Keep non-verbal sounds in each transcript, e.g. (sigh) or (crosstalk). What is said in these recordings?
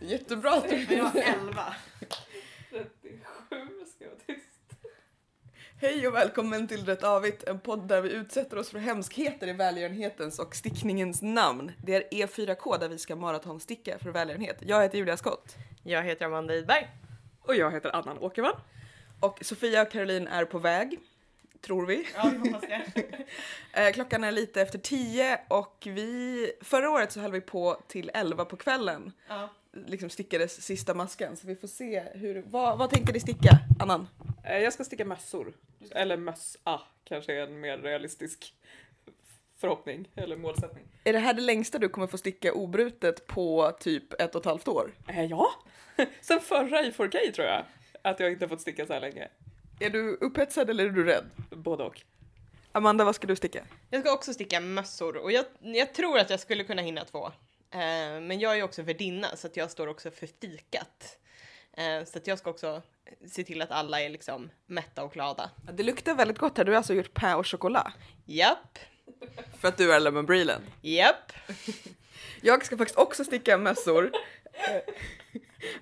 Jättebra att du... Men jag var 11. 37 ska jag vara tyst. Hej och välkommen till Rätt Avigt, en podd där vi utsätter oss för hemskheter i välgörenhetens och stickningens namn. Det är E4K där vi ska maratonsticka för välgörenhet. Jag heter Julia Skott. Jag heter Amanda Idberg. Och jag heter Annan Åkerman. Och Sofia och Caroline är på väg, tror vi. Ja, vi hoppas det. (laughs) Eh, klockan är lite efter tio och vi... Förra året så höll vi på till elva på kvällen. Ja. Liksom stickades sista masken, så vi får se hur... Vad, vad tänker ni sticka, Annan? Eh, Jag ska sticka mössor. Eller mössa kanske är en mer realistisk förhoppning eller målsättning. Är det här det längsta du kommer få sticka obrutet på typ ett och ett halvt år? Eh, ja, (laughs) sen förra i 4K tror jag att jag inte har fått sticka så här länge. Är du upphetsad eller är du rädd? Både och. Amanda, vad ska du sticka? Jag ska också sticka mössor och jag, jag tror att jag skulle kunna hinna två. Eh, men jag är ju också värdinna så att jag står också för fikat. Eh, så att jag ska också se till att alla är liksom mätta och glada. Det luktar väldigt gott här. Du har alltså gjort pain au chocolat. Japp, För att du är lemon brillen. japp. Jag ska faktiskt också sticka mössor. Eh,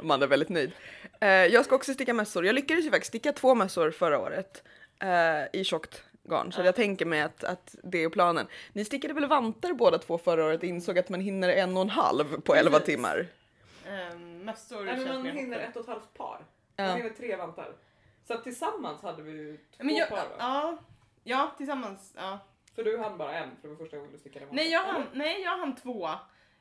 Amanda är väldigt nöjd. Eh, Jag ska också sticka mössor. Jag lyckades ju faktiskt sticka två mössor förra året eh, i tjockt garn. Så Ja. jag tänker mig att, att det är planen. Ni stickade väl vantar båda två förra året och insåg att man hinner en och en halv på elva Precis. timmar. Eh, mössor Nej, men känns man mer hinner hoppfull. ett och ett halvt par. Ja. Man hinner tre vantar. Så att tillsammans hade vi ju två men jag, par va? ja, ja, tillsammans. Ja. För du hann bara en för det var första gången du stickade vanta. Nej, jag (laughs) hann, nej, jag hann två,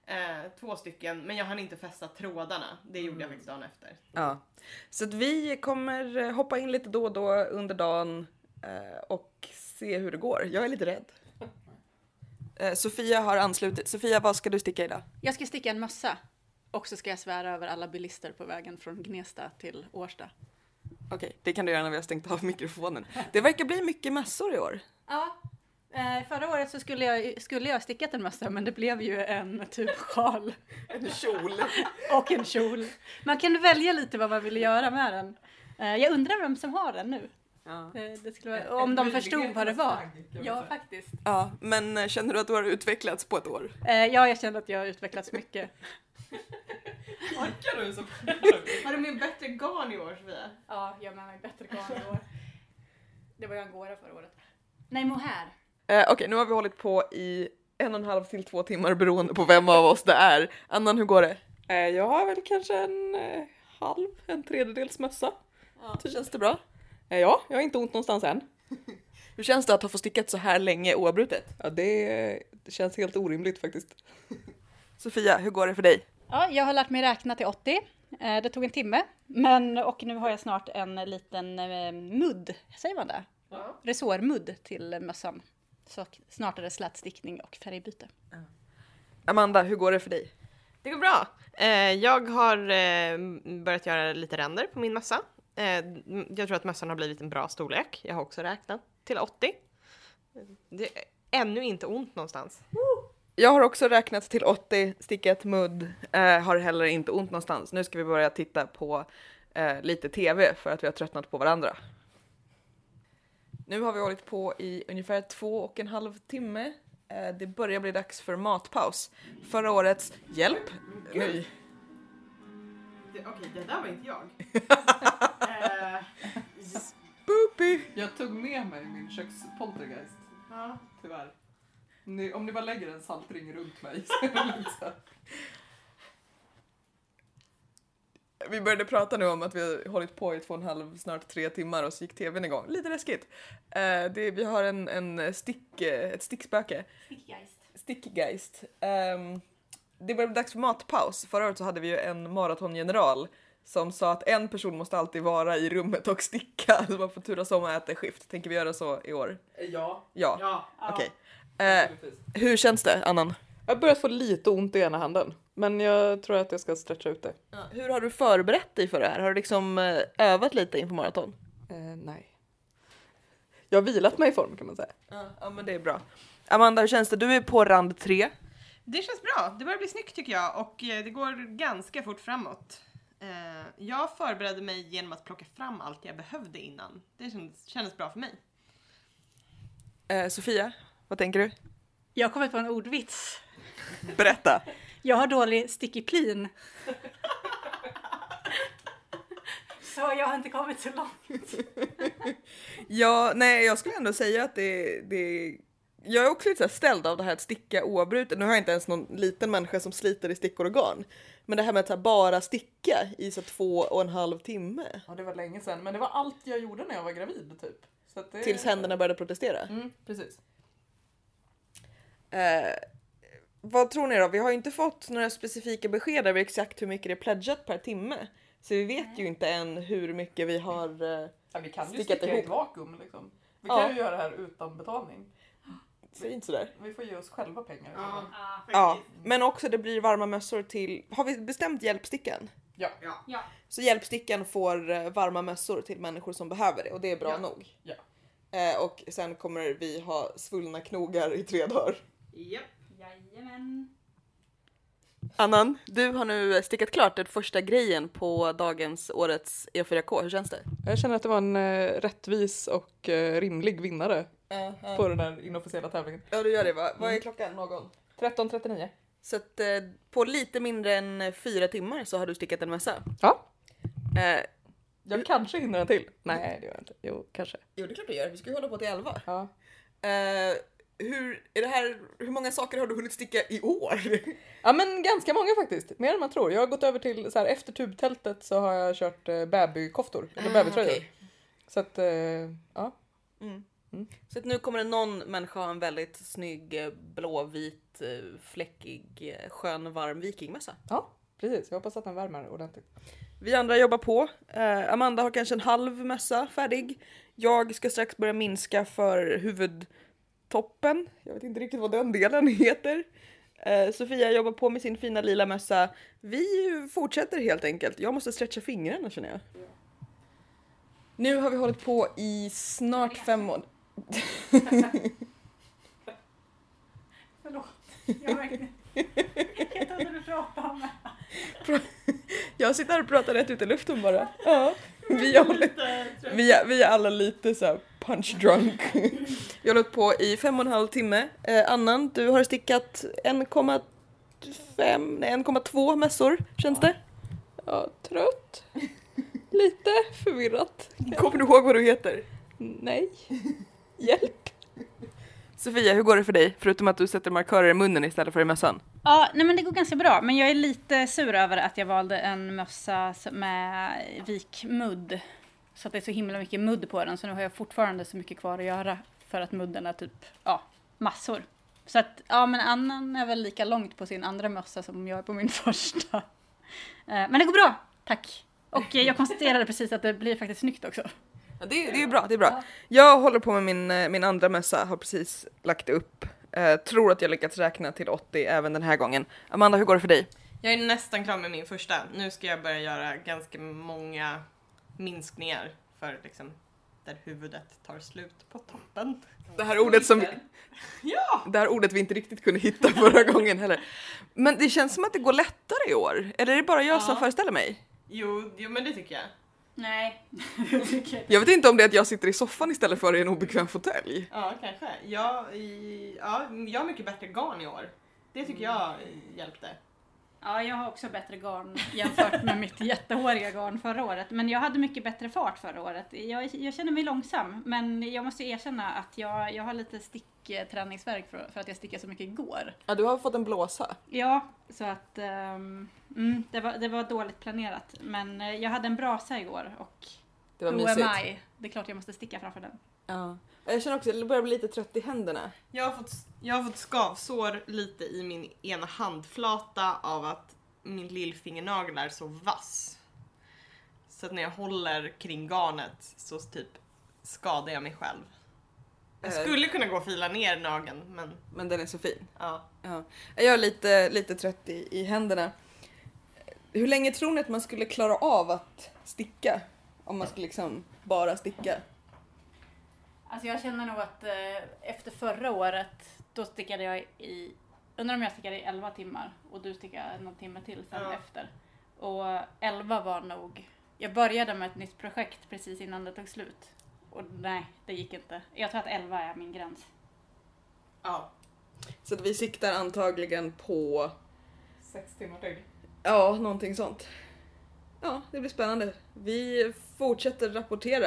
eh, två stycken, men jag hann inte fästa trådarna. Det gjorde jag Mm. faktiskt dagen efter. Ja. Så att vi kommer eh, hoppa in lite då och då under dagen eh, och se hur det går. Jag är lite rädd. Eh, Sofia har anslutit. Sofia, vad ska du sticka idag? Jag ska sticka en mössa. Och så ska jag svära över alla bilister på vägen från Gnesta till Årsta. Okej, det kan du göra när vi har stängt av mikrofonen. Det verkar bli mycket mässor i år. Ja, eh, förra året så skulle jag, skulle jag stickat en mössa men det blev ju en typ sjal En (laughs) kjol. och en kjol. Man kunde välja lite vad man ville göra med den. Eh, jag undrar vem som har den nu. Ja. Eh, det skulle vara, om de förstod vad det var. Ja, faktiskt. ja, men eh, känner du att du har utvecklats på ett år? Eh, ja, jag känner att jag har utvecklats mycket. (laughs) Orkar du så Har du med bättre garn i år Sofia? (laughs) Ja, jag med mig bättre garn (laughs) i år. Det var ju angora förra året. Nej, mohair. Eh, Okej, nu har vi hållit på i en och en halv till två timmar beroende på vem av oss det är. Annan, hur går det? Eh, Jag har väl kanske en eh, halv, en tredjedels mössa. Känns det bra? Eh, Ja, jag har inte ont någonstans än. Hur känns det att ha fått stickat så här länge oavbrutet? Ja, det, det känns helt orimligt faktiskt. Sofia, hur går det för dig? Ja, jag har lärt mig räkna till 80. Eh, Det tog en timme. Men, och nu har jag snart en liten eh, mudd, säger man det? Ja. Resårmudd till mössan. Så snart är det slätstickning och färgbyte. Amanda, hur går det för dig? Det går bra. Eh, jag har eh, börjat göra lite ränder på min mössa. Eh, m- jag tror att mössan har blivit en bra storlek. Jag har också räknat till 80. Det är ännu inte ont någonstans. Jag har också räknat till 80, stickat mudd, eh, har heller inte ont någonstans. Nu ska vi börja titta på eh, lite TV för att vi har tröttnat på varandra. Nu har vi hållit på i ungefär två och en halv timme. Eh, det börjar bli dags för matpaus. Förra årets hjälp. Nej. Okej, det där var inte (laughs) jag. Eh, Boopy. Jag tog med mig min kökspoltergeist, tyvärr. om ni bara lägger en saltring runt mig så är det lugnt. Vi började prata nu om att vi har hållit på i två och en halv, snart tre timmar och så gick tvn igång. Lite läskigt. Eh, det, vi har en, en stick, eh, ett stickspöke. Stickgeist. Ehm, det börjar bli dags för matpaus. Förra året så hade vi ju en maratongeneral som sa att en person måste alltid vara i rummet och sticka. Så man får turas om att äta skift. Tänker vi göra så i år? Eh, Ja, Ja, Ja. okej. Eh, hur känns det, Annan? Jag har börjat få lite ont i ena handen, men jag tror att jag ska stretcha ut det. Hur har du förberett dig för det här? Har du liksom eh, övat lite inför maraton? Eh, nej. Jag har vilat mig i form kan man säga. Ja, men det är bra. Amanda, hur känns det? Du är på rand tre. Det känns bra. Det börjar bli snyggt tycker jag och eh, det går ganska fort framåt. Eh, Jag förberedde mig genom att plocka fram allt jag behövde innan. Det kändes, kändes bra för mig. Eh, Sofia, vad tänker du? Jag har kommit på en ordvits. Berätta. Jag har dålig stickiplin. Så jag har inte kommit så långt. Ja, nej jag skulle ändå säga att det, det jag är också lite så här ställd av det här att sticka oavbrutet. Nu har jag inte ens någon liten människa som sliter i stickor och garn. Men det här med att så här bara sticka i så här två och en halv timme. Ja, det var länge sedan. Men det var allt jag gjorde när jag var gravid typ. Så att det... Tills händerna började protestera. Mm, precis. Eh, vad tror ni då? Vi har ju inte fått några specifika besked över exakt hur mycket det är pledgat per timme. Så vi vet ju inte än hur mycket vi har. eh, Ja, vi kan ju Stickat sticka i ihop. ett vakuum liksom. Vi Ja. kan ju göra det här utan betalning. Säg inte sådär. Vi får ge oss själva pengar. Ja. Ja. Ja, men också det blir varma mössor till. Har vi bestämt hjälpstickan? Ja. Ja. Ja. Så hjälpstickan får eh, varma mössor till människor som behöver det och det är bra Ja. nog. Ja. Eh, och sen kommer vi ha svullna knogar i tre dagar. Japp. Jajamän. Annan, du har nu stickat klart den första grejen på dagens årets E4K. Hur känns det? Jag känner att det var en eh, rättvis och eh, rimlig vinnare på den här inofficiella tävlingen. Eh, Ja, du gör det va? Vad är klockan? Någon? 13.39. Mm. Så att eh, på lite mindre än fyra timmar så har du stickat en mössa. Ja. Eh, Jag kanske hinner en till. Nej, det gör jag inte. Jo, kanske. jo, det är klart du gör. Vi ska ju hålla på till elva. Ja. Eh, hur, är det här, hur många saker har du hunnit sticka i år? Ja men ganska många faktiskt. Mer än man tror. Jag har gått över till så här efter tubtältet så har jag kört eh, babykoftor. Eller babytröjor. Ah, okej. Så att eh, ja. (laughs) Så att nu kommer det någon människa ha en väldigt snygg eh, blåvit eh, fläckig eh, skön varm vikingmössa. Ja precis. Jag hoppas att den värmer ordentligt. Vi andra jobbar på. Eh, Amanda har kanske en halv mössa färdig. Jag ska strax börja minska för huvudtoppen. Jag vet inte riktigt vad den delen (laughs) heter. Eh, Sofia jobbar på med sin fina lila mössa. Vi fortsätter helt enkelt. Jag måste stretcha fingrarna känner jag. Nu har vi hållit på i snart fem månader. Förlåt. Jag verkligen... Jag trodde du pratade om mig. Jag sitter här och pratar rätt ut i luften bara. Ja. Vi har hållit Lite trött. Vi är, vi är alla lite så här punch drunk. Jag har hållit på i fem och en halv timme. Eh, Annan, du har stickat 1,5, nej 1,2 mössor känns det. Ja, trött. Lite förvirrat. Kommer du ihåg vad du heter? Nej. Hjälp! Sofia, hur går det för dig? Förutom att du sätter markörer i munnen istället för i mössan. Ja, nej men det går ganska bra. Men jag är lite sur över att jag valde en mössa som- med vikmudd. Så att det är så himla mycket mudd på den. Så nu har jag fortfarande så mycket kvar att göra. För att mudden är typ, ja, massor. Så att, ja men annan är väl lika långt på sin andra mössa som jag är på min (laughs) första. Eh, Men det går bra, tack. Och eh, jag konstaterade precis att det blir faktiskt snyggt också. Ja, det, är- det är bra, det är bra. Jag håller på med min, eh, min andra mössa, har precis lagt upp. Eh, tror att jag lyckats räkna till 80 även den här gången. Amanda, hur går det för dig? Jag är nästan klar med min första. Nu ska jag börja göra ganska många minskningar för liksom där huvudet tar slut på toppen. Det här ordet som... Ja! det här ordet vi inte riktigt kunde hitta förra gången heller. Men det känns som att det går lättare i år. Eller är det bara jag som Ja. föreställer mig? Jo, jo men det tycker jag. Nej. Jag vet inte om det är att jag sitter i soffan istället för i en obekväm fåtölj. Ja, kanske. Jag, i, ja, jag har mycket bättre garn i år. Det tycker jag hjälpte. Ja, jag har också bättre garn jämfört med mitt jättehåriga garn förra året. Men jag hade mycket bättre fart förra året. Jag, jag känner mig långsam, men jag måste erkänna att jag, jag har lite stickträningsvärk för, för att jag stickade så mycket igår. Ja, du har fått en blåsa. Ja, så att ehm, mm, det, var, det var dåligt planerat. Men eh, jag hade en brasa igår och Det who am I? Det är klart jag måste sticka framför den. Ja. Jag känner också att jag börjar bli lite trött i händerna. Jag har, fått, jag har fått skavsår lite i min ena handflata av att min lillfingernagel är så vass. Så att när jag håller kring garnet så typ skadar jag mig själv. Jag Eh. skulle kunna gå och fila ner nageln men Men den är så fin. ja. Ja. Jag är lite, lite trött i, i händerna. Hur länge tror ni att man skulle klara av att sticka? Om man skulle liksom bara sticka? Alltså jag känner nog att eh, efter förra året, då stickade jag i, undrar om jag stickade i 11 timmar och du stickade någon timme till sen Ja. efter. Och 11 var nog, jag började med ett nytt projekt precis innan det tog slut. Och nej, det gick inte. Jag tror att 11 är min gräns. ja. Så att vi siktar antagligen på Sex timmar till. Ja, någonting sånt. Ja, det blir spännande. Vi fortsätter rapportera.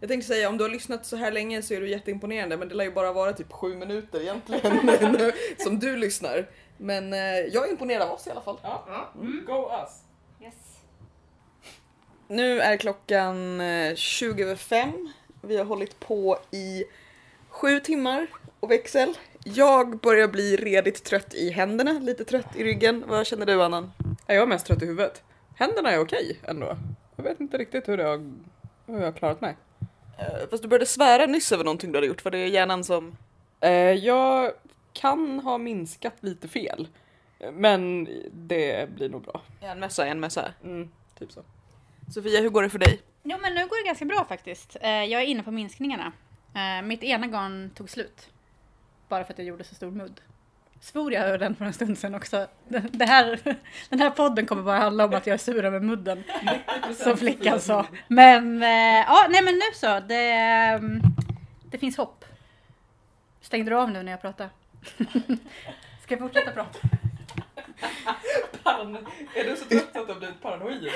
Jag tänkte säga om du har lyssnat så här länge så är du jätteimponerande men det lär ju bara vara typ sju minuter egentligen (laughs) nu som du lyssnar. Men eh, jag är imponerad av oss i alla fall. Ja. Go us! Yes. Nu är klockan eh, 20 över fem. Vi har hållit på i sju timmar och växel. Jag börjar bli redigt trött i händerna, lite trött i ryggen. Vad känner du Annan? Jag är mest trött i huvudet. Händerna är okej ändå. Jag vet inte riktigt hur det har, hur jag har klarat mig. Eh, Fast du började svära nyss över någonting du hade gjort. Var det hjärnan som... Eh, jag kan ha minskat lite fel. Men det blir nog bra. En mössa, en mössa. Mm, typ så. Sofia, hur går det för dig? Jo men nu går det ganska bra faktiskt. Eh, Jag är inne på minskningarna. Eh, Mitt ena garn tog slut. Bara för att jag gjorde så stor mudd. Svor jag över den för en stund sedan också. Det- Det här, (laughs) den här podden kommer bara handla om att jag är sur över mudden. Som flickan sa. Men eh, ja, nej men nu så. Det, ehm, det finns hopp. Stängde du av nu när jag pratade? (laughs) Ska jag fortsätta prata? är du så trött att du har blivit paranoid?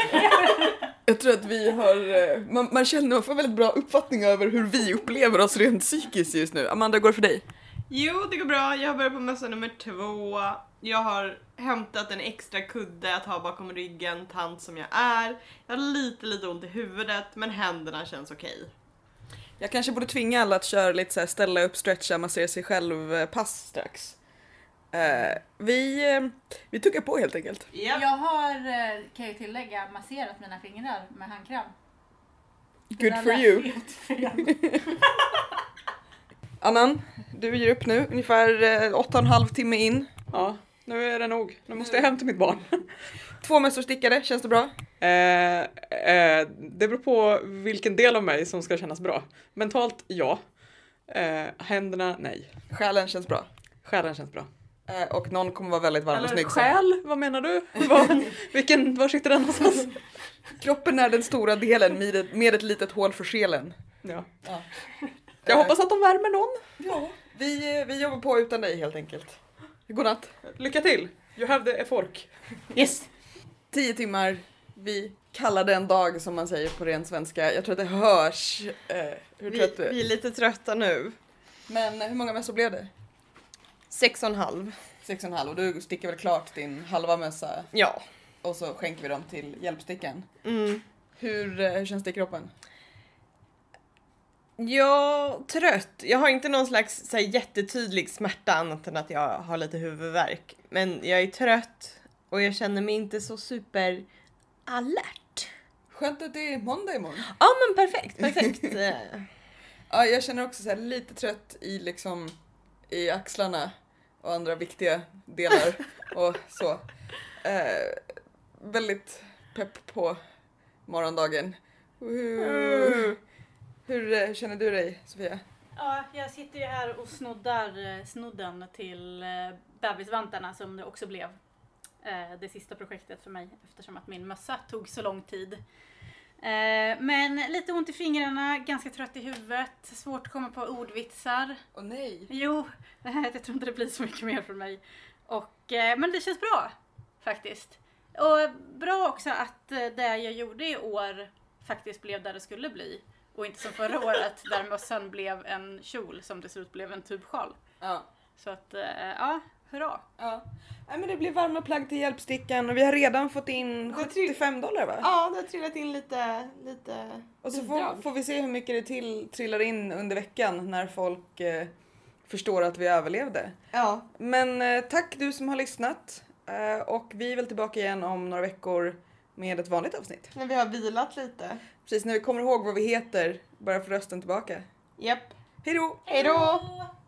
Jag tror att vi har... eh, Man, man känner man får väldigt bra uppfattning över hur vi upplever oss rent psykiskt just nu. Amanda, hur går det för dig? Jo, det går bra. Jag har börjat på mössa nummer två. Jag har hämtat en extra kudde att ha bakom ryggen, tant som jag är. Jag har lite, lite ont i huvudet, men händerna känns okej. Jag kanske borde tvinga alla att köra lite så här ställa upp, stretcha, massera sig själv eh, pass strax. Eh, vi, eh, vi tuggar på helt enkelt. Japp. Jag har, eh, kan jag ju tillägga, masserat mina fingrar med handkräm. Det Good där for lät you. helt fel. Annan, du ger upp nu, ungefär eh, åtta och en halv timme in. Ja, nu är det nog. Nu måste jag hem till mitt barn. Två mössor stickade, känns det bra? Eh, eh, det beror på vilken del av mig som ska kännas bra. Mentalt, ja. Eh, händerna, nej. Själen känns bra. Själen känns bra. Eh, och någon kommer vara väldigt varm och Eller snygg. själ, vad menar du? Var, vilken, var sitter den någonstans? Kroppen är den stora delen med ett, med ett litet hål för själen. Ja. Ja. Jag hoppas att de värmer någon. Ja, vi, eh, vi jobbar på utan dig helt enkelt. Godnatt. Lycka till! You have the fork. Yes! Tio timmar, vi kallar det en dag som man säger på ren svenska. Jag tror att det hörs eh, hur Vi, trött du är. vi är lite trötta nu. Men eh, hur många mössor blev det? Sex och en halv. Sex och en halv och du stickar väl klart din halva mössa Ja. och så skänker vi dem till hjälpstickan. Mm. Hur, eh, hur känns det i kroppen? Jag trött. Jag har inte någon slags så här, jättetydlig smärta annat än att jag har lite huvudvärk. Men jag är trött och jag känner mig inte så super alert. Skönt att det är måndag imorgon. Ja men perfekt, (laughs) perfekt. Eh, Ja, jag känner också så här lite trött i liksom i axlarna och andra viktiga delar och så. Eh, väldigt pepp på morgondagen. Woohoo. Hur eh, känner du dig Sofia? Ja, jag sitter ju här och snoddar eh, snodden till eh, bebisvantarna som det också blev eh, det sista projektet för mig eftersom att min mössa tog så lång tid. Eh, Men lite ont i fingrarna, ganska trött i huvudet, svårt att komma på ordvitsar. Åh nej! Jo, (laughs) jag tror inte det blir så mycket mer från mig. Och, eh, men det känns bra faktiskt. Och bra också att eh, det jag gjorde i år faktiskt blev där det skulle bli. Och inte som förra året där mössan blev en kjol som till slut blev en tubsjal. Ja. Så att, eh, ja, hurra. Ja. Nej, men det blir varma plagg till hjälpstickan och vi har redan fått in 75 dollar va? Ja, det har trillat in lite, lite... Och så får, får vi se hur mycket det till, trillar in under veckan när folk eh, förstår att vi överlevde. Ja. Men eh, tack du som har lyssnat. Eh, och vi är väl tillbaka igen om några veckor med ett vanligt avsnitt. När vi har vilat lite. Precis när vi kommer ihåg vad vi heter, bara för rösten tillbaka. Japp. Hej då! Hej då!